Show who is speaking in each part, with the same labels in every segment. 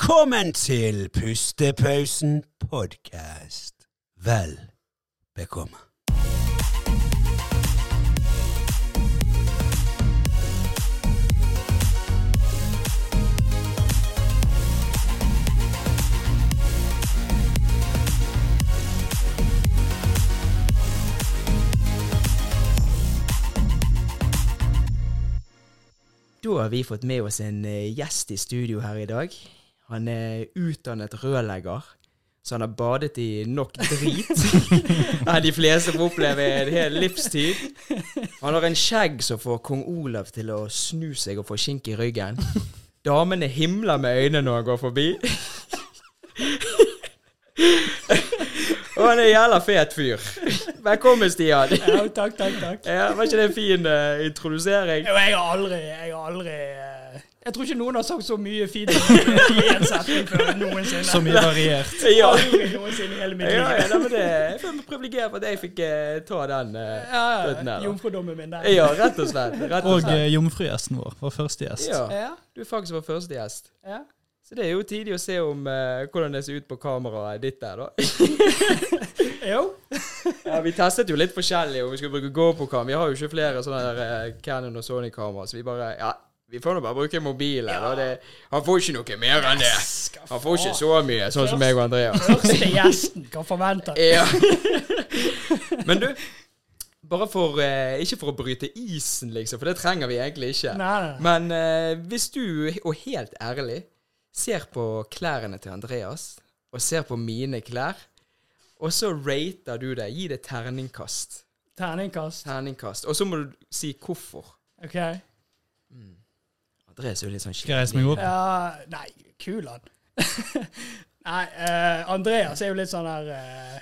Speaker 1: Velkommen til Pustepausen podkast. Vel bekomme.
Speaker 2: Da har vi fått med oss en eh, gjest i studio her i dag. Han er utdannet rørlegger, så han har badet i nok drit. Enn de fleste får oppleve i en hel livstid. Han har en skjegg som får kong Olav til å snu seg og få skink i ryggen. Damene himler med øynene når han går forbi. Og han er en jævla fet fyr. Velkommen, Stian.
Speaker 3: Ja, takk, takk, takk.
Speaker 2: Ja, var ikke det en fin eh, introdusering?
Speaker 3: Jo, jeg har aldri Jeg har aldri eh, Jeg tror ikke noen har sagt så mye fint i en setning før noensinne.
Speaker 4: Så mye variert.
Speaker 2: Ja.
Speaker 3: Aldri noensinne i hele mitt
Speaker 2: Ja,
Speaker 3: liv.
Speaker 2: ja, nei, men det, jeg føler meg privilegert for at jeg fikk eh, ta den. eh.
Speaker 3: Ja,
Speaker 2: Den der, da.
Speaker 3: Jomfrudommen min der.
Speaker 2: ja, rett og slett. Rett og
Speaker 4: Og
Speaker 2: slett.
Speaker 4: eh, jomfrugjesten vår var første gjest.
Speaker 2: Ja,
Speaker 3: Ja,
Speaker 2: du er faktisk vår første gjest.
Speaker 3: ja.
Speaker 2: Så det er jo tidlig å se om eh, hvordan det ser ut på kameraet ditt der, da.
Speaker 3: Jo.
Speaker 2: Ja, vi testet jo litt forskjellig om vi skulle bruke GoPro-kamera. Vi har jo ikke flere sånne der, eh, Canon og Sony-kamera, så vi bare Ja, vi får nå bare bruke mobilen. da. Det, han får ikke noe mer enn det.
Speaker 3: Skal
Speaker 2: Han får ikke
Speaker 3: faen.
Speaker 2: så mye, sånn som meg og Andreas.
Speaker 3: Første gjesten. Hva forventer jeg?
Speaker 2: Ja. Men du, bare for eh, Ikke for å bryte isen, liksom, for det trenger vi egentlig ikke.
Speaker 3: Nei, nei, nei.
Speaker 2: Men eh, hvis du, og helt ærlig, ser på klærne til Andreas, og ser på mine klær, og så rater du det. Gi det terningkast.
Speaker 3: Terningkast.
Speaker 2: Terningkast. Og så må du si hvorfor.
Speaker 3: OK.
Speaker 2: Andreas er jo litt sånn
Speaker 4: Skal jeg reise meg opp?
Speaker 3: Ja Nei, kul han. Nei, eh, Andreas er jo litt sånn her eh,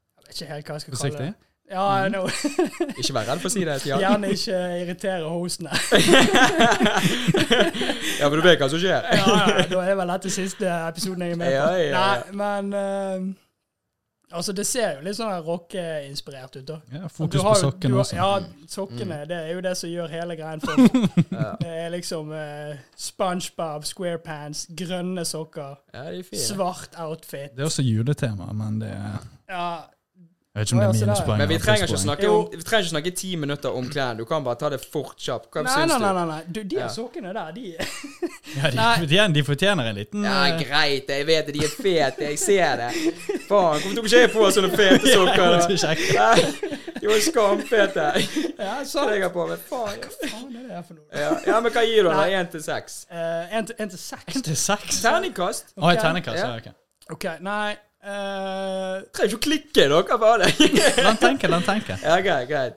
Speaker 3: Jeg vet ikke helt hva jeg skal kalle
Speaker 4: Forsiktig?
Speaker 3: det. Ja,
Speaker 2: Mm.
Speaker 3: nå
Speaker 2: Ikke vær redd for å si det. Stian.
Speaker 3: Gjerne ikke irritere hostene.
Speaker 2: Ja, for du vet hva som skjer.
Speaker 3: ja, ja, da er vel dette siste episoden jeg er med på.
Speaker 2: Ja, ja, ja.
Speaker 3: Nei, men eh, Altså, det ser jo litt sånn her rockeinspirert ut, da.
Speaker 4: Ja,
Speaker 3: Du
Speaker 4: fokus
Speaker 3: har jo-
Speaker 4: på
Speaker 3: du
Speaker 4: sokken
Speaker 3: har-
Speaker 4: også.
Speaker 3: Ja, sokkene.
Speaker 2: Mm.
Speaker 3: Det er jo det som gjør hele greien for meg.
Speaker 2: Ja,
Speaker 3: Det er liksom eh, SpongeBob, SquarePants, grønne sokker,
Speaker 2: ja de er fine.
Speaker 3: svart outfit.
Speaker 4: Det er også juletema, men det er
Speaker 3: Ja,
Speaker 4: Jeg vet ikke om
Speaker 3: Å,
Speaker 4: det
Speaker 3: ja,
Speaker 4: er
Speaker 3: så der.
Speaker 4: minuspoeng.
Speaker 2: Men vi
Speaker 4: eller
Speaker 2: trenger ikke å
Speaker 4: plusspoeng.
Speaker 2: snakke om, vi trenger ikke snakke ti minutter om klærne. Du kan bare ta det fort kjapt. Hva
Speaker 3: nei,
Speaker 2: syns
Speaker 3: nei,
Speaker 2: du?
Speaker 3: nei, nei, nei. Du, de
Speaker 2: Ja.
Speaker 3: sokkene der, de
Speaker 4: Ja, de,
Speaker 3: Nei.
Speaker 4: fortjener, de fortjener en liten
Speaker 2: Ja,
Speaker 4: eh,
Speaker 2: greit, jeg vet det, de er fete, jeg ser det. Faen, hvorfor tok ikke jeg på sånne fete sokker?
Speaker 4: jeg måtte
Speaker 2: da?
Speaker 4: sjekke.
Speaker 2: Nei, De var skamfete.
Speaker 3: Ja,
Speaker 2: Hva
Speaker 3: sant.
Speaker 2: jeg har på meg, faen.
Speaker 3: Hva faen er det her for noe?
Speaker 2: Ja, ja men hva gir du da?
Speaker 3: Nei.
Speaker 2: Én til seks?
Speaker 3: Eh, En til- en til seks.
Speaker 4: En til seks? Å,
Speaker 2: Terningkast?
Speaker 4: jeg terningkast. Ja, ok.
Speaker 3: OK, nei eh,
Speaker 2: Trenger ikke å klikke, dere, hva var det?
Speaker 4: Den tenker, den tenker.
Speaker 2: Ja, greit, greit.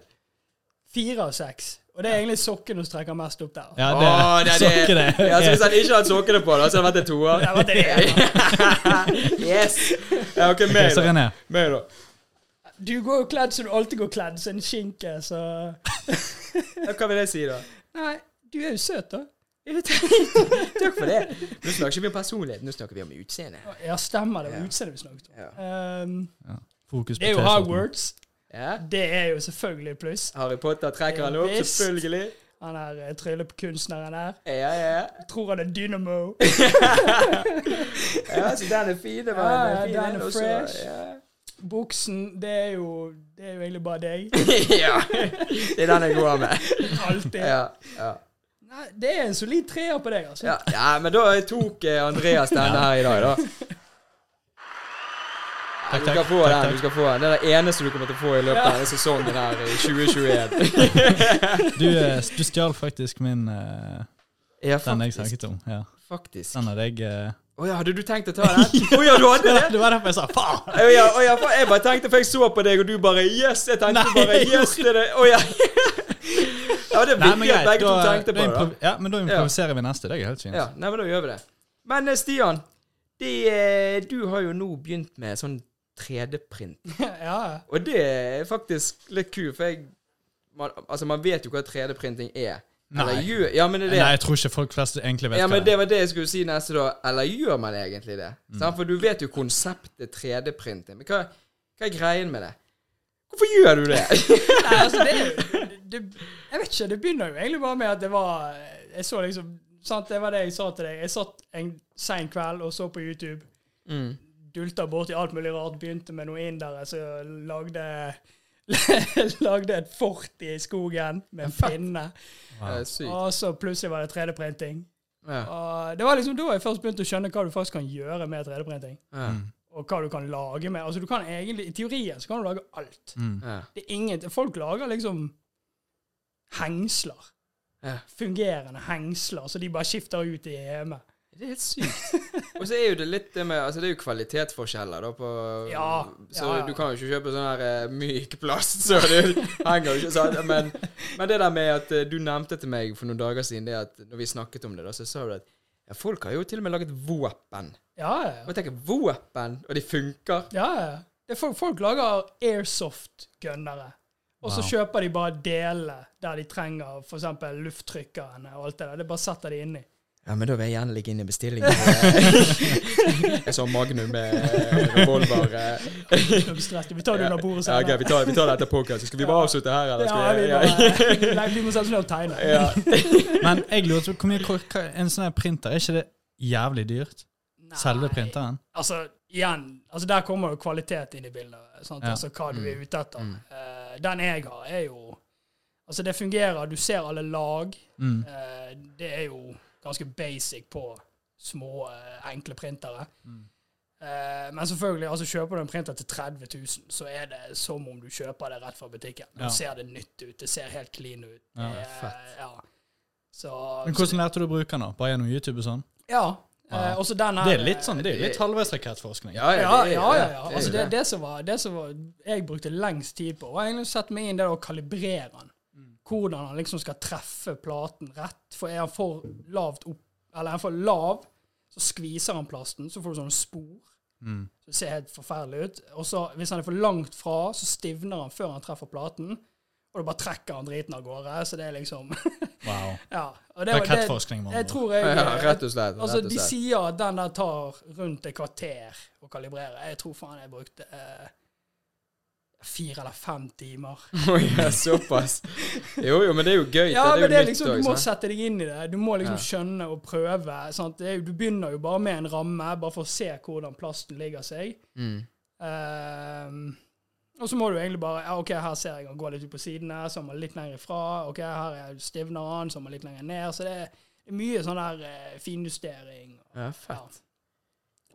Speaker 3: Fire av seks. Og det er egentlig sokkene som trekker mest opp der.
Speaker 4: Ja,
Speaker 2: Å,
Speaker 4: det
Speaker 2: det er
Speaker 4: sokker
Speaker 2: det.
Speaker 4: det.
Speaker 2: Ja, så hvis han ikke hadde sokkene på, da, så hadde det vært en toer.
Speaker 3: Det var det.
Speaker 2: Yes! Ja, OK,
Speaker 4: Ok,
Speaker 2: meg,
Speaker 4: så
Speaker 2: da.
Speaker 4: René,
Speaker 2: Meg, da.
Speaker 3: Du går jo kledd som du alltid går kledd, som en skinke, så
Speaker 2: Ja, Hva vil jeg si, da?
Speaker 3: Nei, du er jo søt, da.
Speaker 2: Takk for det. Nå snakker ikke vi om personlighet, nå snakker vi om utseende.
Speaker 3: Ja, stemmer. Det
Speaker 2: Ja.
Speaker 3: var utseendet vi snakket om.
Speaker 2: Ja.
Speaker 3: Ehm,
Speaker 4: fokus på
Speaker 3: det er jo
Speaker 4: T-skjorten.
Speaker 3: Hogwarts.
Speaker 2: Ja.
Speaker 3: Det er jo selvfølgelig et pluss.
Speaker 2: Harry Potter trekker han opp,
Speaker 3: Visst.
Speaker 2: selvfølgelig.
Speaker 3: Han er eh, tryllekunstneren her.
Speaker 2: Ja, ja, ja.
Speaker 3: Tror han er Dynamo.
Speaker 2: Ja, så den er fin. Det var
Speaker 3: Ja,
Speaker 2: en
Speaker 3: ja,
Speaker 2: fin
Speaker 3: den
Speaker 2: en
Speaker 3: er
Speaker 2: også.
Speaker 3: fresh.
Speaker 2: Ja.
Speaker 3: Buksen, det er jo Det er jo egentlig bare deg.
Speaker 2: ja. Det er den jeg går med.
Speaker 3: Alltid.
Speaker 2: Ja, ja.
Speaker 3: Nei, det er en solid treer på deg, altså.
Speaker 2: Ja, ja, men da tok eh, Andreas denne her i dag, da. Ja,
Speaker 4: Takk,
Speaker 2: du
Speaker 4: takk,
Speaker 2: skal få
Speaker 4: takk,
Speaker 2: den.
Speaker 4: takk.
Speaker 2: du skal få den. Det er det eneste du kommer til å få i løpet av denne sesongen her i 2021.
Speaker 4: Du, eh, du stjal faktisk min eh,
Speaker 2: Ja,
Speaker 4: Den jeg snakket om. Ja.
Speaker 2: Faktisk. Å
Speaker 4: Den hadde jeg eh,
Speaker 2: ja, hadde du tenkt å ta den? Å ja, du hadde det?
Speaker 4: Det var derfor jeg sa faen!
Speaker 2: Å ja, å ja, for jeg bare tenkte, for jeg så på deg, og du bare Yes! Jeg tenkte
Speaker 4: Nei,
Speaker 2: bare
Speaker 4: jeg
Speaker 2: Yes! Det er det. Å ja. ja, det er
Speaker 4: Nei, men
Speaker 2: viktig at
Speaker 4: greit.
Speaker 2: begge to
Speaker 4: Da,
Speaker 2: tenkte
Speaker 4: da
Speaker 2: på det. da.
Speaker 4: improv- ja, men da improviserer vi neste. Det er helt fint.
Speaker 2: Ja, nei, men da gjør vi det. Men eh, Stian, det, eh, du har jo nå begynt med sånn 3D-print.
Speaker 3: ja.
Speaker 2: Og det er faktisk litt kult, for jeg man, Altså, man vet jo hva 33D-printing er. Eller
Speaker 4: Nei.
Speaker 2: gjør Ja, men det er det.
Speaker 4: Nei, jeg tror ikke folk flest egentlig vet
Speaker 2: Ja, men
Speaker 4: hva det
Speaker 2: Det var det jeg skulle si neste, da. Eller gjør man egentlig det? Sant? For du vet jo konseptet 3D-printing. Men hva, hva er greien med det? Hvorfor gjør du det?
Speaker 3: Nei, altså det, er jo- det Jeg vet ikke, det begynner jo egentlig bare med at det var Jeg så liksom sant, det var det jeg sa til deg. Jeg satt en sein kveld og så på YouTube.
Speaker 2: Mm.
Speaker 3: Dulta borti alt mulig rart. Begynte med noen indere som altså, lagde Lagde et fort i skogen med
Speaker 2: Fett.
Speaker 3: pinne.
Speaker 2: Det er sykt.
Speaker 3: Og så plutselig var det 3D-printing.
Speaker 2: Ja.
Speaker 3: Og Det var liksom da jeg først begynte å skjønne hva du faktisk kan gjøre med 3D-printing.
Speaker 2: Ja.
Speaker 4: Mm.
Speaker 3: Og hva du kan lage med Altså du kan egentlig, I teorien så kan du lage alt.
Speaker 4: Mm.
Speaker 2: Ja.
Speaker 3: Det er ingen, Folk lager liksom hengsler.
Speaker 2: Ja.
Speaker 3: Fungerende hengsler, så de bare skifter ut i hjemmet.
Speaker 2: Det er helt sykt. Og så er jo det litt det med Altså, det er jo kvalitetsforskjeller, da, på
Speaker 3: Ja,
Speaker 2: Så
Speaker 3: ja, ja.
Speaker 2: du kan jo ikke kjøpe sånn her eh, myk plast, så det henger jo ikke sånn. Men, men det der med at eh, du nevnte til meg for noen dager siden, det at når vi snakket om det, da, så sa du at ja, folk har jo til og med laget våpen.
Speaker 3: Ja, ja,
Speaker 2: Og jeg tenker, våpen, og de funker.
Speaker 3: ja. ja. Det er folk, folk lager airsoft-gunnere. Og så
Speaker 4: Wow.
Speaker 3: kjøper de bare deler der de trenger f.eks. lufttrykkerne og alt det der. Det bare setter de inni.
Speaker 2: Ja, men da vil jeg gjerne ligge inne i bestillingen. Jeg så Magnum med revolver. eh.
Speaker 3: Ikke noe stress. Vi tar det under bordet
Speaker 2: Ja, greit, vi tar, vi tar det etter podcast. Skal vi bare avslutte her, eller?
Speaker 3: Ja,
Speaker 2: skal
Speaker 3: vi, bare, nei, vi må sette oss ned og tegne.
Speaker 2: ja.
Speaker 4: Men jeg lurer på hvor mye kor- hva- En sånn her printer, er ikke det jævlig dyrt? Selve
Speaker 3: Nei.
Speaker 4: printeren?
Speaker 3: Altså, igjen, altså der kommer jo kvalitet inn i bildet. Sant?
Speaker 4: Ja.
Speaker 3: Altså hva du er ute etter.
Speaker 2: Mm.
Speaker 3: Eh, den jeg har, er jo Altså, det fungerer. Du ser alle lag.
Speaker 4: Mm.
Speaker 3: Eh, det er jo ganske basic på små, eh, enkle printere.
Speaker 4: Mm.
Speaker 3: Eh, men selvfølgelig, altså kjøper du en printer til 30 000, så er det som om du kjøper det rett fra butikken. Nå
Speaker 4: Ja.
Speaker 3: ser det nytt ut. Det ser helt clean ut.
Speaker 4: Ja,
Speaker 3: Det er-
Speaker 4: fett.
Speaker 3: Ja. Så,
Speaker 4: Men hvordan lærte du å bruke den? da? Bare gjennom YouTube og sånn?
Speaker 3: Ja.
Speaker 4: Ja.
Speaker 3: Eh, også den her
Speaker 4: Det er litt sånn, det er jo
Speaker 2: det-
Speaker 4: litt halvveis rakettforskning.
Speaker 2: Ja,
Speaker 3: Ja,
Speaker 2: det er-
Speaker 3: ja, ja.
Speaker 2: det
Speaker 3: ja.
Speaker 2: er
Speaker 3: Altså,
Speaker 2: jo
Speaker 3: det, det, som var, det som var jeg brukte lengst tid på, var egentlig å sette meg inn i det å kalibrere den. Hvordan han liksom skal treffe platen rett. For er han for lavt opp, eller er han for lav, så skviser han plasten, så får du sånne spor.
Speaker 4: Mm.
Speaker 3: Så det ser helt forferdelig ut. Og så, hvis han er for langt fra, så stivner han før han treffer platen. Og da bare trekker han driten av gårde. Så det er liksom
Speaker 4: Wow.
Speaker 3: Ja. Og det, var- det,
Speaker 4: Rakettforskning, mann.
Speaker 3: jeg tror jeg,
Speaker 2: Ja, rett og slett.
Speaker 3: Altså,
Speaker 2: rett og
Speaker 3: De
Speaker 2: slett.
Speaker 3: sier at den der tar rundt et kvarter å kalibrere. Jeg tror faen jeg brukte eh, fire eller fem timer.
Speaker 2: Oi, ja, såpass. Jo, jo, men det er jo gøy.
Speaker 3: Ja,
Speaker 2: det
Speaker 3: men det
Speaker 2: er
Speaker 3: er
Speaker 2: jo
Speaker 3: liksom, Du
Speaker 2: nytt
Speaker 3: må
Speaker 2: òg.
Speaker 3: sette deg inn i det. Du må liksom
Speaker 2: Ja.
Speaker 3: skjønne og prøve. Sant? Det er, jo- du begynner jo bare med en ramme, bare for å se hvordan plasten ligger seg.
Speaker 2: Mm.
Speaker 3: Ehm, og så må du egentlig bare ja, OK, her ser jeg han går litt ut på sidene, så må han litt lenger ifra. OK, her er stivner han, så må han litt lenger ned. Så det er mye sånn der eh, finjustering.
Speaker 2: Ja, fett.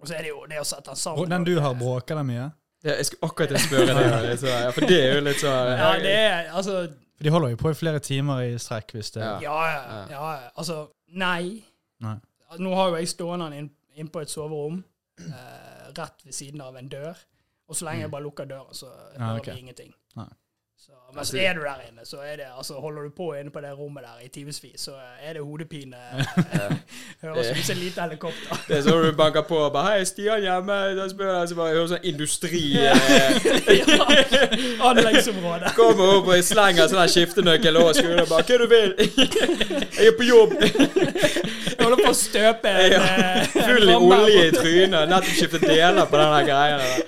Speaker 3: Og så er det jo det å sette den
Speaker 4: Og
Speaker 3: sammen.
Speaker 4: Den du har, bråker den mye?
Speaker 2: Det, jeg skulle akkurat til å spørre deg om det, så, ja, for det er jo litt sånn
Speaker 3: Ja, det er altså
Speaker 4: For de holder jo på i flere timer i strekk hvis det
Speaker 2: Ja.
Speaker 3: Ja, ja. ja, ja. Altså, nei.
Speaker 4: Nei.
Speaker 3: Nå har jo jeg stående den inn, inn på et soverom, eh, rett ved siden av en dør. Og så lenge jeg bare lukker døra, så hører
Speaker 4: Mm. Ja, ok.
Speaker 3: vi ingenting.
Speaker 4: Nei.
Speaker 3: Så, men så er du der inne, så er det, altså, holder du på inne på det rommet der i timevis, så er det hodepine. Høres ut som et lite helikopter.
Speaker 2: Det er sånn du banker på og bare 'Hei, Stian hjemme?' Da spør jeg, så bare hører sånn industri eh,
Speaker 3: Anleggsområdet.
Speaker 2: Kommer opp og slenger sånn her skiftenøkkel og skrur og bare 'Hva du vil?' 'Jeg er på jobb!'
Speaker 3: Jeg holder på å støpe en
Speaker 2: Ja.
Speaker 3: eh,
Speaker 2: Full i
Speaker 3: ramme her
Speaker 2: olje i
Speaker 3: borte.
Speaker 2: trynet. Nettopp skiftet deler på denne greia. der.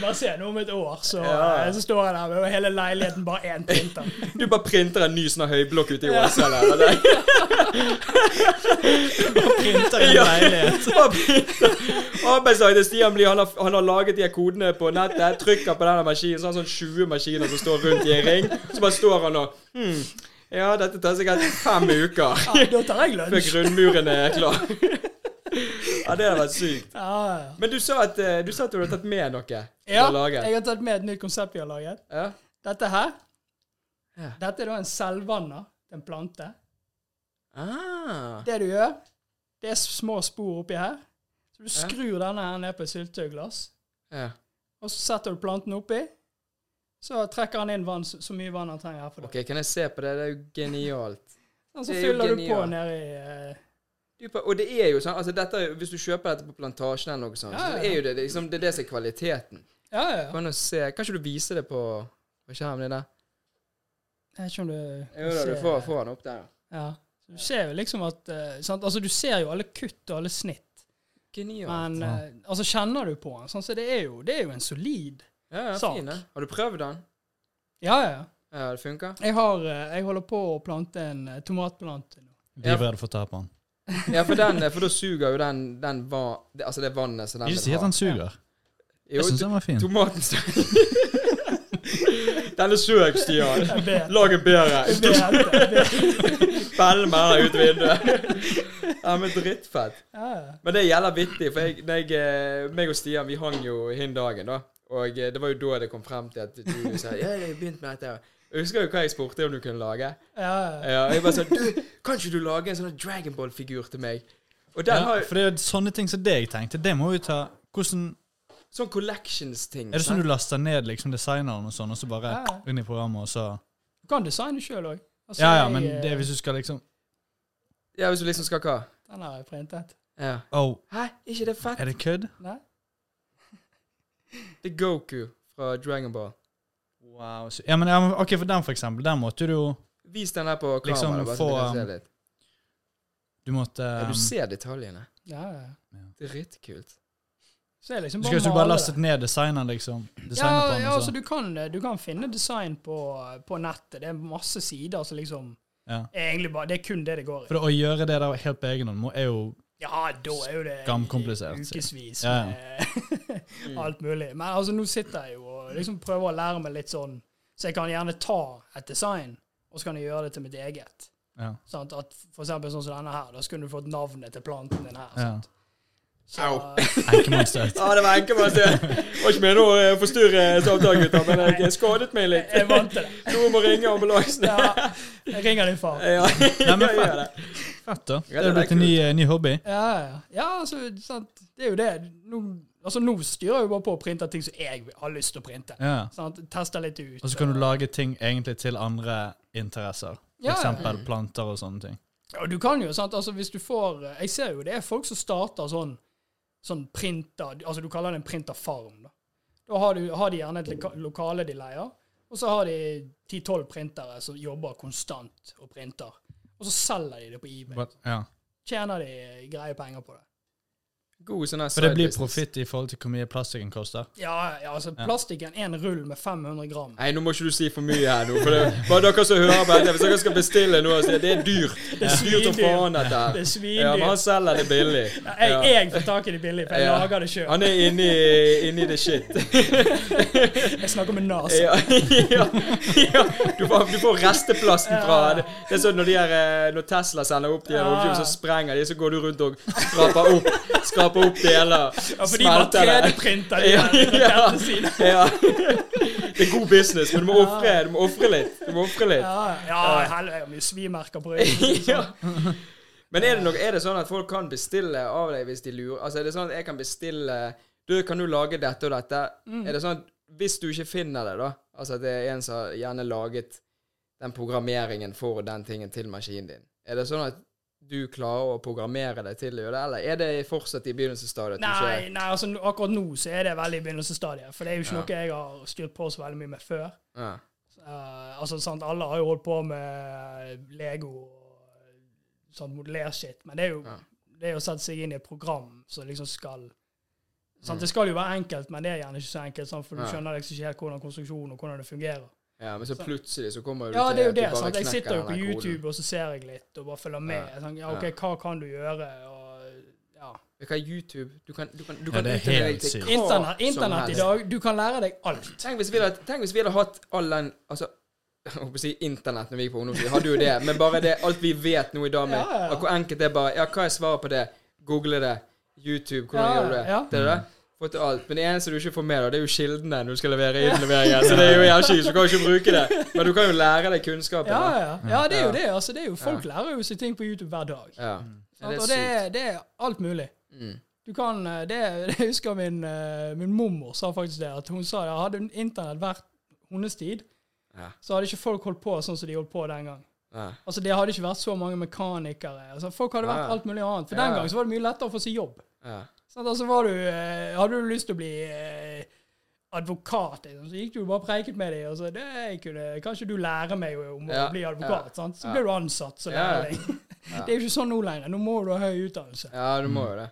Speaker 3: Bare se nå om et år, så,
Speaker 2: Ja.
Speaker 3: eh, så står jeg der med hele leiligheten bare én printer.
Speaker 2: Du bare printer en ny sånn her høyblokk ute i
Speaker 3: Ja.
Speaker 2: Åsane. eller det.
Speaker 4: Printer i en
Speaker 2: Ja.
Speaker 4: leilighet.
Speaker 2: Så bare printer. Arbeidsdagen til Stian blir han har, han har laget de her kodene på nettet, trykker på denne maskinen, så har han sånn 20 maskiner som står rundt i en ring. Så bare står han og hmm, Ja, dette tar sikkert fem uker
Speaker 3: Ja, da tar jeg
Speaker 2: før
Speaker 3: lunsj.
Speaker 2: grunnmuren er klar. Ja, det hadde vært sykt.
Speaker 3: Ja, ja.
Speaker 2: Men du sa at eh, du, sa at du hadde tatt med noe til
Speaker 3: ja,
Speaker 2: å lage.
Speaker 3: jeg har tatt med et nytt konsept vi har laget.
Speaker 2: Ja.
Speaker 3: Dette her,
Speaker 2: Ja.
Speaker 3: dette er da en selvvanner, en plante.
Speaker 2: Ah.
Speaker 3: Det du gjør, det er små spor oppi her. Så du skrur denne her ned på et syltetøyglass,
Speaker 2: Ja.
Speaker 3: og så setter du planten oppi. Så trekker han inn vann, så så mye vann han trenger herfra.
Speaker 2: OK, kan jeg se på det? Det er jo genialt.
Speaker 3: Og så
Speaker 2: det er jo
Speaker 3: fyller du på
Speaker 2: genialt.
Speaker 3: nedi eh,
Speaker 2: Du, pa- og det er jo sånn, altså dette, er jo- Hvis du kjøper dette på Plantasjen, eller noe sånt,
Speaker 3: Ja, ja,
Speaker 2: så
Speaker 3: ja.
Speaker 2: er jo det det er liksom, det, er det som er kvaliteten.
Speaker 3: Ja, ja. ja.
Speaker 2: Kan du se, kan ikke du vise det på, på skjermen din der?
Speaker 3: Jeg vet ikke om du
Speaker 2: Jo da, du
Speaker 3: ser-
Speaker 2: får, får den opp der.
Speaker 3: Ja. Så Du ser jo liksom at eh, sant? Altså, du ser jo alle kutt og alle snitt,
Speaker 2: Genialt.
Speaker 3: men
Speaker 4: Ja.
Speaker 3: eh, altså, kjenner du på den? Sånn, så det er, jo, det er jo en solid
Speaker 2: Ja, ja,
Speaker 3: sak.
Speaker 2: fin, ja. Har du prøvd den?
Speaker 3: Ja, ja.
Speaker 2: Ja, det funker?
Speaker 3: Jeg, har, eh, jeg holder på å plante en eh, tomatplante nå.
Speaker 4: Livredd for å tape han.
Speaker 2: Ja, for, den, eh, for da suger jo den, den va, det, Altså det vannet som den
Speaker 4: Ikke si
Speaker 2: vil
Speaker 4: at
Speaker 2: ha.
Speaker 4: han suger.
Speaker 2: Jo,
Speaker 4: Jeg syns den var fin.
Speaker 2: tomaten suger. Den er søk, Stian.
Speaker 3: Jeg vet.
Speaker 2: Lag en bedre.
Speaker 3: Jeg vet, jeg vet.
Speaker 2: Bell med den ut vinduet. Ja, men drittfett.
Speaker 3: Ja, ja.
Speaker 2: Men det gjelder vittig, for jeg, når jeg, eh, meg og Stian vi hang jo hin dagen, da. Og eh, det var jo da det kom frem til at du sa ja, jeg begynte med dette. Jeg husker jo hva jeg spurte om du kunne lage.
Speaker 3: Ja, ja.
Speaker 2: Ja, jeg bare sa du, kan ikke du lage en sånn Dragonball-figur til meg? Og den
Speaker 4: Ja,
Speaker 2: har jo
Speaker 4: for det er jo sånne ting som det jeg tenkte. Det må vi ta Hvordan
Speaker 2: sånn collections-ting.
Speaker 4: Er det sånn
Speaker 2: sant?
Speaker 4: du laster ned liksom designeren og sånn, og så bare
Speaker 3: Ja, ja.
Speaker 4: inn i programmet, og så
Speaker 3: Du kan designe sjøl òg. Altså,
Speaker 4: Ja ja,
Speaker 3: jeg,
Speaker 4: men
Speaker 3: eh,
Speaker 4: det er hvis du skal liksom
Speaker 2: Ja, hvis du liksom skal hva?
Speaker 3: Den har jeg printet.
Speaker 2: Ja.
Speaker 4: Oh,
Speaker 2: Hæ, ikke det fett?
Speaker 4: er det kødd?
Speaker 3: Nei?
Speaker 2: Det er Goku fra Dragonball.
Speaker 4: Wow. så- Ja, men, ja, men OK, for den, for eksempel. Den måtte du jo
Speaker 2: Vis den der på kamera.
Speaker 4: Liksom
Speaker 2: bare, så vi
Speaker 4: få,
Speaker 2: kan se
Speaker 4: um,
Speaker 2: litt.
Speaker 4: Du måtte
Speaker 2: Ja,
Speaker 4: um,
Speaker 2: du ser detaljene.
Speaker 3: Ja, ja.
Speaker 2: Dritkult.
Speaker 3: Så det er liksom
Speaker 4: Du
Speaker 3: bare
Speaker 4: skulle ikke bare
Speaker 3: male
Speaker 4: lastet
Speaker 3: det.
Speaker 4: ned designeren, liksom? Designet på
Speaker 3: Ja,
Speaker 4: den,
Speaker 3: ja
Speaker 4: og
Speaker 3: altså,
Speaker 4: så.
Speaker 3: du kan, du kan finne design på, eh, på nettet. Det er masse sider som liksom
Speaker 4: Ja.
Speaker 3: er egentlig bare, Det er kun det det går i.
Speaker 4: For det, å gjøre det der helt på egen hånd må- er jo
Speaker 3: Ja, da er jo det
Speaker 4: Skamkomplisert, sier jeg.
Speaker 3: ukevis
Speaker 4: Ja, ja.
Speaker 3: med alt mulig. Men altså, nå sitter jeg jo og liksom prøver å lære meg litt sånn, så jeg kan gjerne ta et design, og så kan jeg gjøre det til mitt eget.
Speaker 4: Ja.
Speaker 3: Sant? At for eksempel sånn som denne her, da skulle du fått navnet til planten din her.
Speaker 4: ja.
Speaker 3: Sant?
Speaker 2: Au.
Speaker 4: Enkemannsstøt.
Speaker 2: Ja, det var enkemann. Det var ikke meningen å forstyrre samtalen, gutter, men jeg skadet meg litt.
Speaker 3: jeg vant til det.
Speaker 2: Noen må ringe ambulansen.
Speaker 3: Ja, jeg ringer din far.
Speaker 2: Ja,
Speaker 4: Nei, men
Speaker 2: jeg gjør det.
Speaker 4: Fett, da.
Speaker 2: Ja,
Speaker 4: Det er
Speaker 2: det er
Speaker 4: blitt en ny, eh, ny hobby.
Speaker 3: Ja, ja. ja altså, sant? det er jo det. Nå, altså, nå styrer jeg jo bare på å printe ting som jeg har lyst til å printe.
Speaker 4: Ja.
Speaker 3: Sant? Tester litt ut.
Speaker 4: Og så kan du lage ting egentlig til andre interesser. For
Speaker 3: Ja, ja.
Speaker 4: eksempel planter og sånne ting.
Speaker 3: Ja, du kan jo, sant? Altså, hvis du får Jeg ser jo det er folk som starter sånn sånn printer Altså, du kaller det en printerfarm, da. Da har, du, har de gjerne et loka- lokale de leier, og så har de 10-12 printere som jobber konstant og printer. Og så selger de det på eBay.
Speaker 4: But, ja.
Speaker 3: Tjener de eh, greie penger på det.
Speaker 2: God sånn her
Speaker 4: For det blir
Speaker 2: side business.
Speaker 4: profitt i forhold til hvor mye plastikken koster.
Speaker 3: Ja, ja altså, plastikken, én rull med 500 gram.
Speaker 2: Nei, nå må ikke du si for mye her nå. For det er bare dere som hører på dette, hvis dere skal bestille noe, så det er dyrt. Det er dyrt å faen dette
Speaker 3: Det
Speaker 2: her.
Speaker 3: er svindyrt.
Speaker 2: Ja, men han selger det billig.
Speaker 3: Ja, jeg,
Speaker 2: Ja.
Speaker 3: jeg får tak i det billig, for jeg
Speaker 2: Ja.
Speaker 3: lager det sjøl.
Speaker 2: Han er inni, inni det shit.
Speaker 3: Jeg snakker med Nas.
Speaker 2: Ja, ja, ja. Du, får, du får resteplasten fra Det det er sånn når, de her, eh, når Tesla sender opp de her
Speaker 3: Ja.
Speaker 2: romskipene, så sprenger de, så går du rundt og skraper opp, skraper opp deler.
Speaker 3: Ja, for de var
Speaker 2: smelter det.
Speaker 3: 3D-printer, de
Speaker 2: Ja,
Speaker 3: der
Speaker 2: ja.
Speaker 3: rakettene sine.
Speaker 2: Ja. Det er god business, men du må ofre du må ofre litt. Du må offre litt.
Speaker 3: Ja, ja, helvete, mye svimerker på ryggen.
Speaker 2: Ja. Men er det, nok, er det sånn at folk kan bestille av deg hvis de lurer? Altså, er det sånn at jeg kan bestille Du, kan du lage dette og dette?
Speaker 3: Mm.
Speaker 2: Er det sånn at hvis du ikke finner det, da Altså at det er en som har gjerne laget den programmeringen for den tingen til maskinen din. Er det sånn at du klarer å programmere deg til å gjøre det, eller er det fortsatt i begynnelsesstadiet? at du
Speaker 3: Nei, nei altså, nå- akkurat nå så er det veldig i begynnelsesstadiet. For det er jo ikke noe jeg har styrt på så veldig mye med før.
Speaker 2: ikke- Ja.
Speaker 3: Eh, altså, sant, Alle har jo holdt på med Lego og sånn modellershit, men det er jo
Speaker 2: Ja.
Speaker 3: det er jo å sette seg inn i et program som liksom skal
Speaker 2: Mm.
Speaker 3: sant, Det skal jo være enkelt, men det er gjerne ikke så enkelt, sant, for du
Speaker 2: Nei.
Speaker 3: skjønner liksom ikke helt hvordan konstruksjonen og hvordan det fungerer.
Speaker 2: ja, men så plutselig så kommer du
Speaker 3: Ja, det er jo
Speaker 2: at du
Speaker 3: det.
Speaker 2: bare
Speaker 3: sant? Jeg
Speaker 2: knekker
Speaker 3: sitter jo
Speaker 2: den
Speaker 3: på
Speaker 2: her koden.
Speaker 3: YouTube, og så ser jeg litt, og bare følger med.
Speaker 2: Ja.
Speaker 3: Sånn, ja, OK,
Speaker 2: Ja.
Speaker 3: hva kan du gjøre? Og ja.
Speaker 2: Hva er YouTube? Du kan, du kan, du
Speaker 4: Ja,
Speaker 2: kan
Speaker 4: det er
Speaker 2: utdanne
Speaker 4: helt
Speaker 2: deg til
Speaker 4: sykt.
Speaker 2: hva
Speaker 3: Internett
Speaker 2: som
Speaker 3: internett i
Speaker 2: helst.
Speaker 3: dag, du kan lære deg alt.
Speaker 2: Tenk hvis vi hadde, tenk hvis vi hadde hatt all den Altså, jeg holdt på å si internett når vi gikk på ungdomsskolen. Vi hadde jo det, men bare det alt vi vet nå i dag, med
Speaker 3: Ja, ja.
Speaker 2: og hvor enkelt det er bare Ja, hva er svaret på det? Google det. YouTube, hvordan
Speaker 3: Ja,
Speaker 2: gjør du det?
Speaker 3: ja.
Speaker 2: Det er det. Fått alt. Men det eneste du ikke får med, da, det er jo kildene når du skal levere innleveringer. Så det er jo jævlig kjipt, så du kan jo ikke bruke det. Men du kan jo lære deg kunnskapen.
Speaker 3: Ja,
Speaker 2: da.
Speaker 3: ja. ja, det er jo
Speaker 2: Ja.
Speaker 3: det. altså, det er jo, Folk lærer jo seg ting på YouTube hver dag.
Speaker 2: Ja.
Speaker 3: sant?
Speaker 2: Det er
Speaker 3: og det
Speaker 2: sykt.
Speaker 3: er, det er alt mulig.
Speaker 2: Mm.
Speaker 3: Du kan, eh, det, Jeg husker min, eh, min mormor sa faktisk det, at hun sa at hadde internett vært hennes tid,
Speaker 2: Ja.
Speaker 3: så hadde ikke folk holdt på sånn som de holdt på den gang.
Speaker 2: Ja.
Speaker 3: Altså, Det hadde ikke vært så mange mekanikere. altså, Folk hadde vært
Speaker 2: Ja.
Speaker 3: alt mulig annet. For
Speaker 2: Ja.
Speaker 3: den gang så var det mye lettere å få seg jobb.
Speaker 2: Ja.
Speaker 3: Sant? Altså var du, eh, Hadde du lyst til å bli eh, advokat, liksom, så gikk du jo bare og preiket med dem. Og så det jeg kunne, Kanskje du lærer meg jo om
Speaker 2: Ja,
Speaker 3: å bli
Speaker 2: ja,
Speaker 3: advokat? sant? Så
Speaker 2: ja.
Speaker 3: ble du ansatt som
Speaker 2: Ja,
Speaker 3: lærling.
Speaker 2: ja.
Speaker 3: Det er jo ikke sånn nå lenger. Nå må du ha høy utdannelse.
Speaker 2: ja, du må jo det.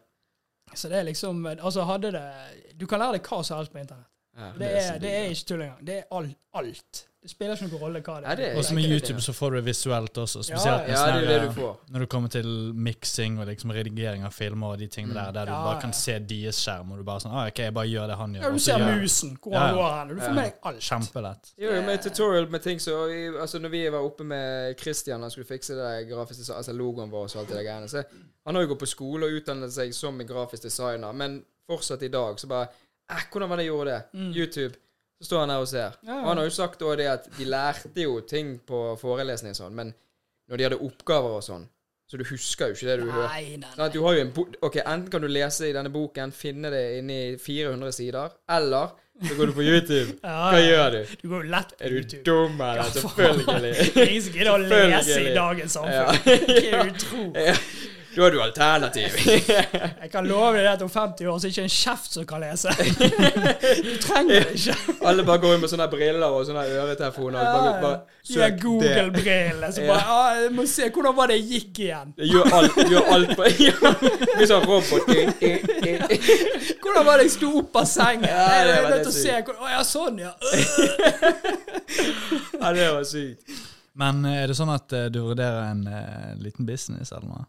Speaker 3: Så det er liksom eh, Altså, hadde det Du kan lære deg hva som helst på internett.
Speaker 2: Ja.
Speaker 3: Det er, det er ikke tull engang. Det er alt. alt. Det spiller ikke noen rolle hva det
Speaker 2: Ja, det er-
Speaker 4: Og
Speaker 2: Også
Speaker 4: med
Speaker 2: tenker jeg det, ja.
Speaker 4: YouTube så får du det visuelt også.
Speaker 3: Ja,
Speaker 4: Spesielt
Speaker 2: Ja,
Speaker 4: med
Speaker 2: det er jo
Speaker 4: sånne
Speaker 2: det
Speaker 4: her, eh,
Speaker 2: du får.
Speaker 4: når du kommer til miksing og liksom redigering av filmer og de tingene der, der
Speaker 3: Mm. Ja,
Speaker 4: du bare
Speaker 3: ja.
Speaker 4: kan se deres skjerm, og du bare sånn ah, OK, jeg bare gjør det han gjør.
Speaker 3: Ja, du
Speaker 4: og så
Speaker 3: ser
Speaker 4: gjør jeg.
Speaker 3: musen, hvor
Speaker 4: Ja, ja.
Speaker 3: han går hen. og Du får
Speaker 2: Ja.
Speaker 3: med deg alt.
Speaker 4: Kjempelett.
Speaker 2: Jo, jo,
Speaker 3: Eh.
Speaker 2: med tutorial med ting så i- Altså, når vi var oppe med Christian, han skulle fikse det der grafiske desi- Altså logoen vår og så alt det der greiene, så han har jo gått på skole og utdannet seg som en grafisk designer, men fortsatt i dag så bare Eh, hvordan var det jeg gjorde det? YouTube. Så står han her og ser.
Speaker 3: Mm. Ja, ja.
Speaker 2: Og han har jo sagt også det at de lærte jo ting på forelesning og sånn, men når de hadde oppgaver og sånn, så du husker jo ikke det du hørte.
Speaker 3: Nei, nei,
Speaker 2: Sånn at du har jo en bo ok, Enten kan du lese i denne boken, finne det inni 400 sider, eller så går du på YouTube.
Speaker 3: Ja,
Speaker 2: Hva gjør du?
Speaker 3: Du går jo lett på
Speaker 2: Er du
Speaker 3: YouTube.
Speaker 2: dum, eller? Selvfølgelig.
Speaker 3: Det er ingen som gidder å lese i
Speaker 2: Selvfølgelig.
Speaker 3: dagens
Speaker 2: Ja.
Speaker 3: samfunn. Ikke er du tro.
Speaker 2: Da har du alternativ.
Speaker 3: Jeg kan love deg at om 50 år så er det ikke en kjeft som kan lese. Du trenger det ikke.
Speaker 2: Alle bare går inn med sånne briller og sånne øretelefoner. Og bare, bare,
Speaker 3: De der
Speaker 2: søk det.
Speaker 3: Google-brillene som
Speaker 2: Ja.
Speaker 3: bare «Ah, Jeg må se hvordan var det jeg gikk igjen.
Speaker 2: Det Gjør alt, gjør alt på ja. Blir sånn robot.
Speaker 3: Hvordan var det jeg sto opp av sengen?
Speaker 2: Ja,
Speaker 3: Jeg
Speaker 2: det
Speaker 3: er
Speaker 2: var det
Speaker 3: nødt til å
Speaker 2: sykt.
Speaker 3: se hvordan Å ja, sånn, ja.
Speaker 2: Ja, det var sykt.
Speaker 4: Men eh, er det sånn at eh, du vurderer en eh, liten business eller noe?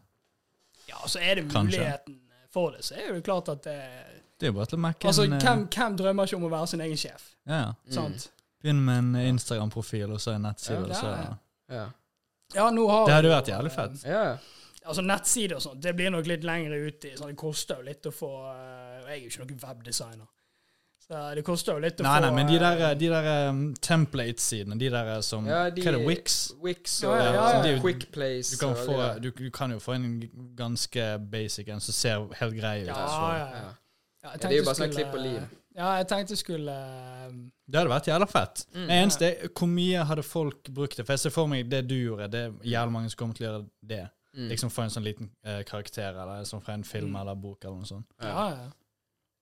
Speaker 3: Ja, så er det
Speaker 4: Kanskje.
Speaker 3: muligheten for det. Så er det jo klart at eh,
Speaker 4: Det er jo bare til å mekke
Speaker 3: Altså,
Speaker 4: en eh, Mm.
Speaker 3: hvem, hvem drømmer ikke om å være sin egen sjef?
Speaker 4: ja, ja.
Speaker 3: Sant?
Speaker 4: Begynn med en eh, Instagram-profil og så en nettside.
Speaker 2: Ja,
Speaker 4: og
Speaker 3: ja,
Speaker 4: så,
Speaker 3: ja.
Speaker 2: Ja.
Speaker 3: Ja, nå har
Speaker 4: Det hadde jo
Speaker 3: jo,
Speaker 4: vært jævlig fett.
Speaker 3: eh,
Speaker 2: ja.
Speaker 3: Altså nettsider og sånt, det blir nok litt lengre uti. Sånn, det koster jo litt å få eh, Jeg er jo ikke noen webdesigner. Så det koster jo litt å
Speaker 4: Nei,
Speaker 3: få
Speaker 4: nei, men de
Speaker 3: eh,
Speaker 4: der, eh, de der eh, template-sidene, de der eh, som
Speaker 2: Ja, de-
Speaker 4: Hva er det, Wix?
Speaker 2: Wix
Speaker 3: Ja,
Speaker 2: og
Speaker 3: ja, ja.
Speaker 2: sånn Quick Place.
Speaker 4: Du kan,
Speaker 2: og
Speaker 4: få,
Speaker 2: det der.
Speaker 4: du, du kan jo få en g- ganske basic en som ser helt grei ut.
Speaker 3: Ja,
Speaker 4: så.
Speaker 3: ja, ja.
Speaker 2: Ja.
Speaker 3: Ja,
Speaker 2: Ja, det er
Speaker 3: jeg
Speaker 2: jo
Speaker 3: tenkte
Speaker 2: bare sånn
Speaker 3: skulle-
Speaker 2: klipp og lim.
Speaker 3: Ja, jeg tenkte jeg skulle eh,
Speaker 4: Det hadde vært jævla fett.
Speaker 2: Mm.
Speaker 4: Det eneste er hvor mye hadde folk brukt det? For jeg ser for meg det du gjorde, det er jævlig mange som kommer til å gjøre det.
Speaker 2: Mm.
Speaker 4: Liksom få en sånn liten eh, karakter, eller sånn fra en film
Speaker 3: Mm.
Speaker 4: eller bok eller noe sånt.
Speaker 3: Ja, ja.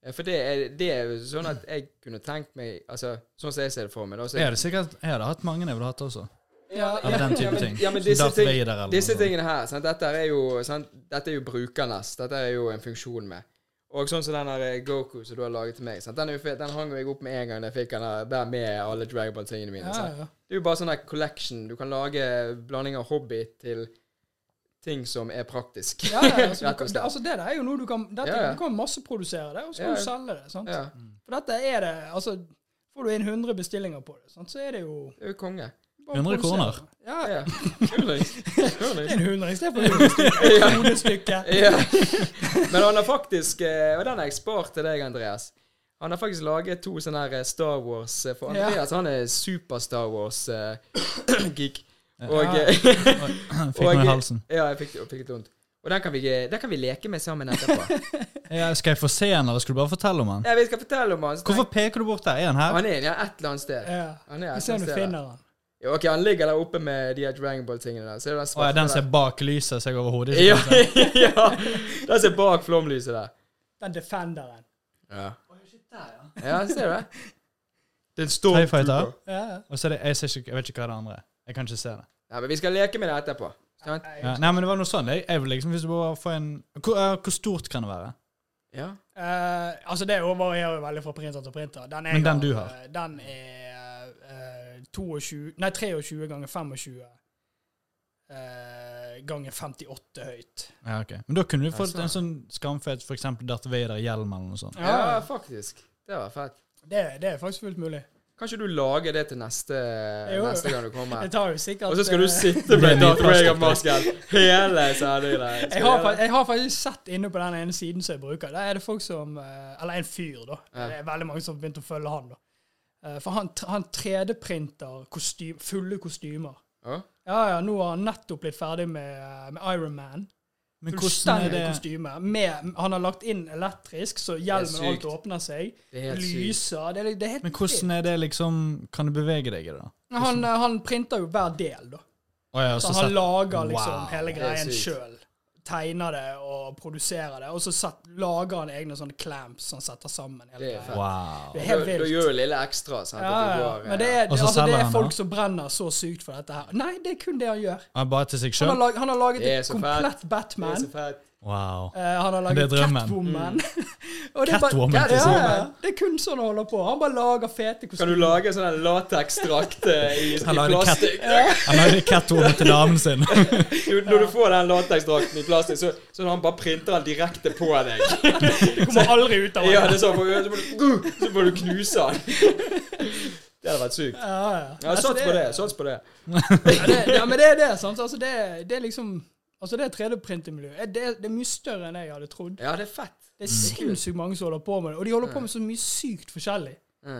Speaker 2: Ja, for det er, det er jo sånn at jeg kunne tenkt meg Altså, sånn som jeg ser det for meg da, så
Speaker 4: Jeg hadde sikkert jeg hadde hatt mange jeg ville hatt også.
Speaker 2: Ja,
Speaker 4: Eller den type
Speaker 2: men-
Speaker 4: ting.
Speaker 2: Ja, men
Speaker 4: Som
Speaker 2: disse,
Speaker 4: Darth
Speaker 2: ting,
Speaker 4: Vader eller
Speaker 2: disse
Speaker 4: noe sånt.
Speaker 2: tingene her, sant? Dette, er jo, sant? dette er jo brukernes. Dette er jo en funksjon med. Og sånn som den her eh, Goku som du har laget til meg, sant? Den, er jo fet. den hang jo jeg opp med en gang da jeg fikk den her, der med alle Dragonball-tingene mine.
Speaker 3: ja,
Speaker 2: Sant?
Speaker 3: ja.
Speaker 2: Det er jo bare sånn her collection. Du kan lage blanding av hobby til ting som er praktisk.
Speaker 3: ja, ja
Speaker 2: Rett
Speaker 3: altså, du kan,
Speaker 2: og
Speaker 3: det,
Speaker 2: slett.
Speaker 3: altså, det der er jo noe du kan dette,
Speaker 2: Ja, ja.
Speaker 3: Du kan masseprodusere det, og så kan
Speaker 2: Ja,
Speaker 3: du
Speaker 2: ja.
Speaker 3: selge det. sant?
Speaker 2: Ja,
Speaker 3: For dette er det Altså, får du inn 100 bestillinger på det, sant? så er det jo
Speaker 2: det er jo konge.
Speaker 3: bare å
Speaker 4: 100
Speaker 3: produsere.
Speaker 4: kroner.
Speaker 2: Ja,
Speaker 3: Ja,
Speaker 2: ja. Skjønner du? Skjønner
Speaker 3: det
Speaker 2: du?
Speaker 3: er en hundre istedenfor et
Speaker 2: Ja.
Speaker 3: kronestykke.
Speaker 2: Ja. Men han har faktisk eh, Og den har jeg spart til deg, Andreas. Han har faktisk laget to sånne her eh, Star Wars eh, For
Speaker 3: Ja.
Speaker 2: Andreas han er super Star Wars-geek. og
Speaker 3: Ja.
Speaker 2: eh,
Speaker 4: Fikk meg i
Speaker 2: Og- eh,
Speaker 4: halsen.
Speaker 2: Ja, jeg fikk, jeg fikk litt vondt. Og den kan, vi, eh, den kan vi leke med sammen etterpå.
Speaker 4: Ja, skal jeg få se den, eller skal du bare fortelle om den?
Speaker 2: Ja, vi skal fortelle om han. så tenk-
Speaker 4: Hvorfor peker du bort der? Er den her?
Speaker 2: Han er ja, et eller annet sted.
Speaker 3: Ja.
Speaker 2: Han er
Speaker 3: Vi
Speaker 2: et
Speaker 3: ser
Speaker 2: eller annet
Speaker 3: om du
Speaker 2: sted. der.
Speaker 3: finner den.
Speaker 2: Ja, ok, han ligger der oppe med de her Dragon Ball-tingene der. Ser du den
Speaker 4: Å,
Speaker 2: svarte
Speaker 4: er den
Speaker 2: der?
Speaker 4: som er bak lyset, så jeg overhodet ikke
Speaker 2: ja,
Speaker 4: kan se?
Speaker 2: ja. Den som er bak flomlyset der.
Speaker 3: Den Defenderen.
Speaker 2: Ja,
Speaker 3: Der, ja.
Speaker 2: ja ser du det? Det er en
Speaker 4: TIE Fighter.
Speaker 3: Ja,
Speaker 4: Og så er det, jeg, ser ikke, jeg vet ikke hva det andre er. Jeg kan ikke se det.
Speaker 2: Nei, men vi skal leke med det etterpå. Sant?
Speaker 4: Ja, nei, men det var noe sånn. Jeg, jeg vil liksom, hvis du bare får en hvor, eh, hvor stort kan det være?
Speaker 2: Ja.
Speaker 3: Eh, altså Det varierer jo veldig fra printer til printer. Den
Speaker 4: Men den du har?
Speaker 3: eh, Den er eh, 22, nei, 23 ganger 25 eh, ganger 58 høyt.
Speaker 4: Ja, ok. Men da kunne du fått
Speaker 2: Ja,
Speaker 4: en sånn skamfet for eksempel Darth Vader-hjelm eller noe sånt.
Speaker 2: ja, faktisk. Det var fett.
Speaker 3: Det, det er faktisk fullt mulig.
Speaker 2: Kan ikke du lage det til neste,
Speaker 3: Jo.
Speaker 2: neste gang du kommer?
Speaker 3: Jeg tar jo sikkert
Speaker 2: Og så skal du
Speaker 3: eh,
Speaker 2: sitte
Speaker 4: Det er
Speaker 2: med Darth
Speaker 4: min første
Speaker 2: Vader-masken hele sendingen der.
Speaker 3: jeg har, fa- jeg har faktisk sett inne på den ene siden som jeg bruker. Der er det folk som eh, Eller en fyr, da.
Speaker 2: Ja.
Speaker 3: Det er veldig mange som har begynt å følge han. da. Eh, For han, han 3D-printer kostym, fulle kostymer.
Speaker 2: Ja.
Speaker 3: Ja, ja, nå har han nettopp blitt ferdig med, med Iron Man.
Speaker 4: Men hvordan er
Speaker 3: Fullstendig
Speaker 4: det
Speaker 3: kostyme. Med, han har lagt inn elektrisk, så hjelmen og
Speaker 2: sykt.
Speaker 3: alt åpner seg.
Speaker 2: Det er helt sykt.
Speaker 3: Lyser. Det er, det er helt
Speaker 4: Men hvordan er det liksom Kan du bevege deg i det, da?
Speaker 3: han, eh, han printer jo hver del, da.
Speaker 4: Å, ja, og
Speaker 3: Så
Speaker 4: så
Speaker 3: han
Speaker 4: sett-
Speaker 3: lager liksom
Speaker 4: Wow,
Speaker 3: hele
Speaker 2: det er
Speaker 3: greien
Speaker 2: sykt.
Speaker 3: sjøl. Tegner det og produserer det. Og så sett, lager han egne sånne clamps som han setter sammen. hele
Speaker 2: Det er
Speaker 3: greien.
Speaker 2: fett.
Speaker 4: Wow.
Speaker 3: Det er
Speaker 2: Da,
Speaker 3: helt
Speaker 2: da
Speaker 3: vilt.
Speaker 2: gjør du lille ekstra. Sant? At
Speaker 3: Ja,
Speaker 2: du
Speaker 3: ja.
Speaker 2: går, eh,
Speaker 3: Men det er,
Speaker 4: Og så
Speaker 3: altså, det
Speaker 4: selger
Speaker 3: er
Speaker 4: han, da?
Speaker 3: folk som brenner så sykt for dette her. Nei, det er kun det han gjør.
Speaker 4: Ja, bare til seg
Speaker 3: Han har,
Speaker 4: sjøl?
Speaker 3: lag, han har laget
Speaker 2: Det er
Speaker 3: et
Speaker 2: så
Speaker 3: komplett
Speaker 2: det er
Speaker 3: Batman.
Speaker 2: så fett.
Speaker 4: Wow.
Speaker 3: Eh, han har
Speaker 4: Det
Speaker 3: laget
Speaker 4: er drømmen. Mm.
Speaker 3: Catwoman. Og det er bare-
Speaker 4: Catwoman,
Speaker 3: Ja,
Speaker 4: til
Speaker 3: ja,
Speaker 4: sammen.
Speaker 3: ja. Det er kunstneren holder på. Han bare lager
Speaker 2: Kan
Speaker 3: fete
Speaker 2: du
Speaker 3: kostymer.
Speaker 2: lage sånn her lateksdrakt eh, i, i
Speaker 4: Han lagde cat-
Speaker 2: plastikk?
Speaker 4: Han lagde Catwoman til damen sin.
Speaker 2: Jo, Når du får den lateksdrakten i plastikk, så, så han bare printer den direkte på deg.
Speaker 3: Du kommer aldri ut av det.
Speaker 2: Ja, det er sånn, så, må du, så må du knuse den. Det hadde vært sykt.
Speaker 3: Ja, ja.
Speaker 2: Ja,
Speaker 3: Altså,
Speaker 2: Sats
Speaker 3: det-
Speaker 2: på det. sats på det.
Speaker 3: Ja, det, ja, men det er det, sant. Altså, det, det er liksom Altså, det 3D-printermiljøet det, det er mye større enn jeg hadde trodd.
Speaker 2: Ja, det er fett.
Speaker 4: Mm.
Speaker 3: Det er sinnssykt mange som holder på med det, og de holder på med så mye sykt forskjellig.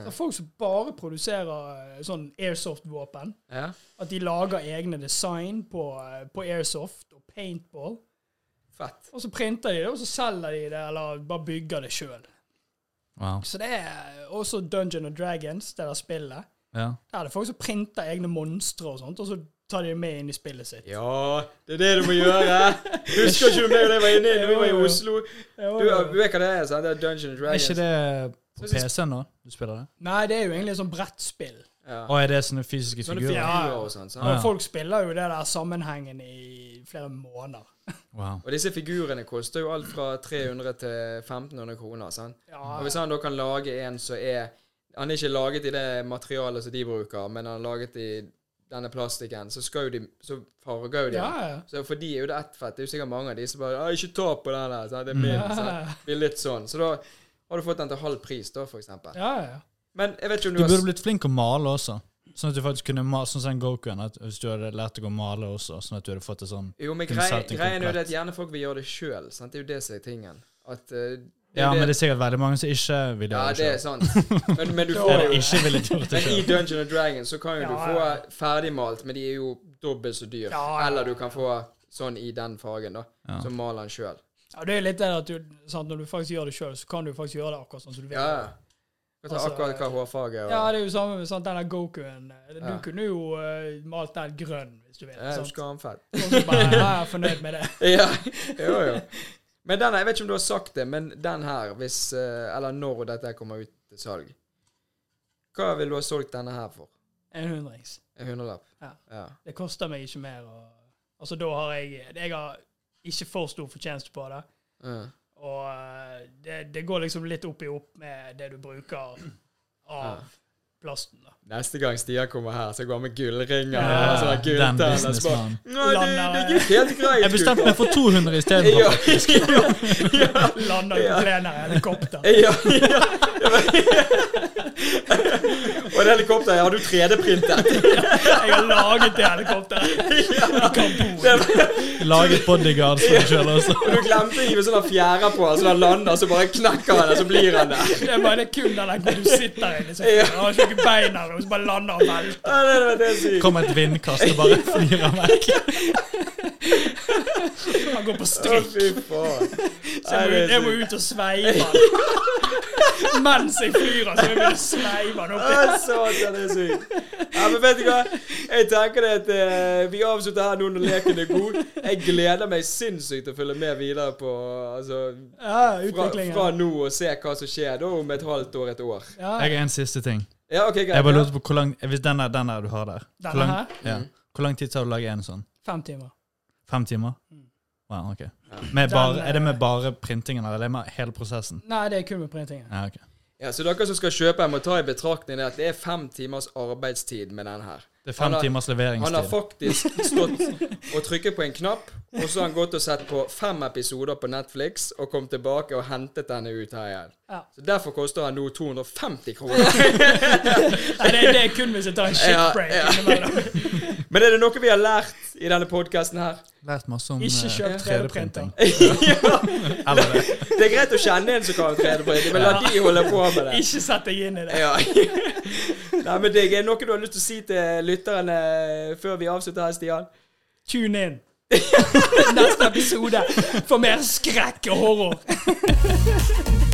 Speaker 3: Så folk som bare produserer eh, sånn airsoft-våpen.
Speaker 2: Ja.
Speaker 3: At de lager egne design på, eh, på airsoft og paintball.
Speaker 2: Fett.
Speaker 3: Og så printer de det, og så selger de det, eller bare bygger det sjøl.
Speaker 4: Wow.
Speaker 3: Så det er også Dungeon and Dragons, det der spillet.
Speaker 4: Ja.
Speaker 3: Der er det folk som printer egne monstre og sånt, og så tar de det med inn i spillet sitt.
Speaker 2: Ja, det er det du må gjøre. Husker ikke du meg og jeg var inne i når vi var i Oslo? Du, du vet hva det er? sant? Det er Dungeon and
Speaker 4: Er
Speaker 2: Dragons.
Speaker 4: ikke det på PC-en nå? Du spiller det?
Speaker 3: Nei, det er jo egentlig et sånt brettspill.
Speaker 2: Ja.
Speaker 4: Og er det sånne fysiske
Speaker 2: Sånne
Speaker 4: figurer?
Speaker 3: Ja, ja.
Speaker 2: figurer og sånn. sant?
Speaker 4: Ja.
Speaker 3: Og folk spiller jo det der sammenhengen i flere måneder.
Speaker 4: Wow.
Speaker 2: Og disse figurene koster jo alt fra 300 til 1500 kroner. sant?
Speaker 3: Ja,
Speaker 2: Og hvis han da kan lage en som er Han er ikke laget i det materialet som de bruker, men han er laget i denne plastikken, så skal jo de Så farger jo de
Speaker 3: ja.
Speaker 2: den.
Speaker 3: ja.
Speaker 2: Så for de er jo det ett fett. Det er jo sikkert mange av de som bare «Å, 'Ikke ta på den der.' Sant? Det blir, sant? Det blir litt sånn. Så da har du fått den til halv pris, da, for eksempel.
Speaker 3: ja, ja.
Speaker 2: Men jeg vet ikke om
Speaker 4: Du
Speaker 2: du har
Speaker 4: burde blitt flink å male også. Sånn at du faktisk kunne male, sånn som den Gokuen, at hvis du hadde lært deg å male også, sånn at du hadde fått det sånn
Speaker 2: Jo, men
Speaker 4: kunne
Speaker 2: grei,
Speaker 4: solgt den
Speaker 2: greien er jo
Speaker 4: komplett.
Speaker 2: det at gjerne folk vil gjøre det sjøl. Det er jo det som er tingen. At, eh, det er
Speaker 4: Ja,
Speaker 2: jo
Speaker 4: men det er sikkert veldig mange som ikke vil
Speaker 2: Ja,
Speaker 4: gjøre
Speaker 2: det er
Speaker 4: selv.
Speaker 2: sant. Men, men du får
Speaker 4: Eller
Speaker 2: jo
Speaker 4: ikke ville gjort det
Speaker 2: Men i
Speaker 4: selv.
Speaker 2: Dungeon and Dragons så kan jo du
Speaker 3: Ja,
Speaker 2: få
Speaker 3: ja.
Speaker 2: ferdigmalt, men de er jo dobbelt så dyr.
Speaker 3: Ja, ja.
Speaker 2: Eller du kan få sånn i den fargen, da.
Speaker 4: Ja.
Speaker 2: Som maler den sjøl.
Speaker 3: ja det er jo litt det at du, sant, når du faktisk gjør det sjøl, så kan du faktisk gjøre det akkurat sånn som du vil.
Speaker 2: Ja, ja. Du kan ta
Speaker 3: Altså,
Speaker 2: akkurat hva hårfarge og
Speaker 3: Ja, det er jo samme med sant, den der Gokuen. Du
Speaker 2: Ja.
Speaker 3: kunne jo eh, malt den grønn, hvis du vil.
Speaker 2: Ja,
Speaker 3: sant?
Speaker 2: Skamfett.
Speaker 3: Og så bare, ja, jeg er fornøyd med det.
Speaker 2: Ja, jo, jo. Men den her, jeg vet ikke om du har sagt det, men den her, hvis eh, Eller når dette kommer ut til salg, hva vil du ha solgt denne her for?
Speaker 3: En hundrings.
Speaker 2: En hundrelapp?
Speaker 3: Ja.
Speaker 2: ja.
Speaker 3: Det koster meg ikke mer. Og, altså, da har jeg Jeg har ikke for stor fortjeneste på det.
Speaker 2: Ja.
Speaker 3: Og eh, det, det går liksom litt opp i opp med det du bruker
Speaker 2: Ja.
Speaker 3: av plasten. da.
Speaker 2: Neste gang Stia kommer her, så går han med gullringer
Speaker 3: Ja,
Speaker 2: og sånn
Speaker 4: den
Speaker 2: gulltenner. Så bare,
Speaker 4: businessmannen.
Speaker 2: Nei, det, det gikk helt greit.
Speaker 4: Jeg bestemte meg for 200 istedenfor.
Speaker 2: ja, ja, ja,
Speaker 3: Lander
Speaker 2: Ja.
Speaker 3: på plenen i helikopter.
Speaker 2: ja, ja. Og det helikopteret har du 3D-printet.
Speaker 3: Jeg har laget det helikopteret.
Speaker 4: Laget bodyguards for deg sjøl også.
Speaker 2: Og du glemte å hive sånn fjære på, så den lander, så bare knekker han, og så blir han der.
Speaker 3: Det er bare det kun den der hvor du sitter inni. så- Jeg har ikke noen bein her, og så bare lander og velter.
Speaker 2: Ja, det, det, det er sykt.
Speaker 4: Kom et vindkast og bare flyr han vekk.
Speaker 3: Han går på
Speaker 2: Å,
Speaker 3: stryk.
Speaker 2: fy faen.
Speaker 3: Så jeg
Speaker 2: Nei,
Speaker 3: må, ut-
Speaker 2: det er
Speaker 3: jeg må
Speaker 2: sykt.
Speaker 3: ut og sveive han. Mens jeg flyr, så jeg vil sveive han opp.
Speaker 2: Å, satan, det er sykt. Ja, men vet du hva? Jeg tenker det at eh, vi avslutter her nå når leken er god. Jeg gleder meg sinnssykt til å følge med videre på altså,
Speaker 3: Ja,
Speaker 2: fra, fra
Speaker 3: utviklingen.
Speaker 2: nå og se hva som skjer da om et halvt år, et år.
Speaker 3: Ja,
Speaker 4: Jeg har en siste ting.
Speaker 2: Ja, ok, greit.
Speaker 4: Jeg bare
Speaker 2: Ja. Mm.
Speaker 4: lurte på hvor lang Hvis den der, den der du har der hvor
Speaker 3: Denne
Speaker 4: lang,
Speaker 3: her?
Speaker 4: Ja. Hvor lang tid tar det å lage en sånn?
Speaker 3: fem timer.
Speaker 4: Fem timer?
Speaker 3: Mm.
Speaker 4: Wow, ok. Med bare, er det
Speaker 3: eh,
Speaker 4: med bare printingen, eller er det med hele prosessen?
Speaker 3: Nei, det er kun med printingen.
Speaker 4: Ja, ok.
Speaker 2: Ja, Så dere som skal kjøpe, jeg må ta i betraktning det at det er fem timers arbeidstid med den her.
Speaker 4: Det er fem
Speaker 2: Han har-
Speaker 4: timers
Speaker 2: Han har
Speaker 4: leveringstid.
Speaker 2: faktisk stått og trykket på en knapp, og så har han gått og sett på fem episoder på Netflix og kom tilbake og hentet denne ut her igjen.
Speaker 3: Ja.
Speaker 2: Så Derfor koster han nå 250 kroner.
Speaker 3: Nei, det, det er kun hvis jeg tar en shit
Speaker 2: Ja,
Speaker 3: break
Speaker 2: ja.
Speaker 3: innimellom.
Speaker 2: Men er det noe vi har lært i denne podkasten her?
Speaker 4: Lært masse om
Speaker 3: Ikke kjøp
Speaker 4: eh,
Speaker 3: 3D-printer.
Speaker 4: 3D-printing. Eller det.
Speaker 2: Det er greit å kjenne en som kan 3D-printing, men la de holde på med det.
Speaker 3: Ikke sett deg inn i det.
Speaker 2: Ja. Nei, men det er noe du har lyst til å si til lytterne før vi avslutter her, Stian?
Speaker 3: Tune in. Neste episode for mer skrekk og horror.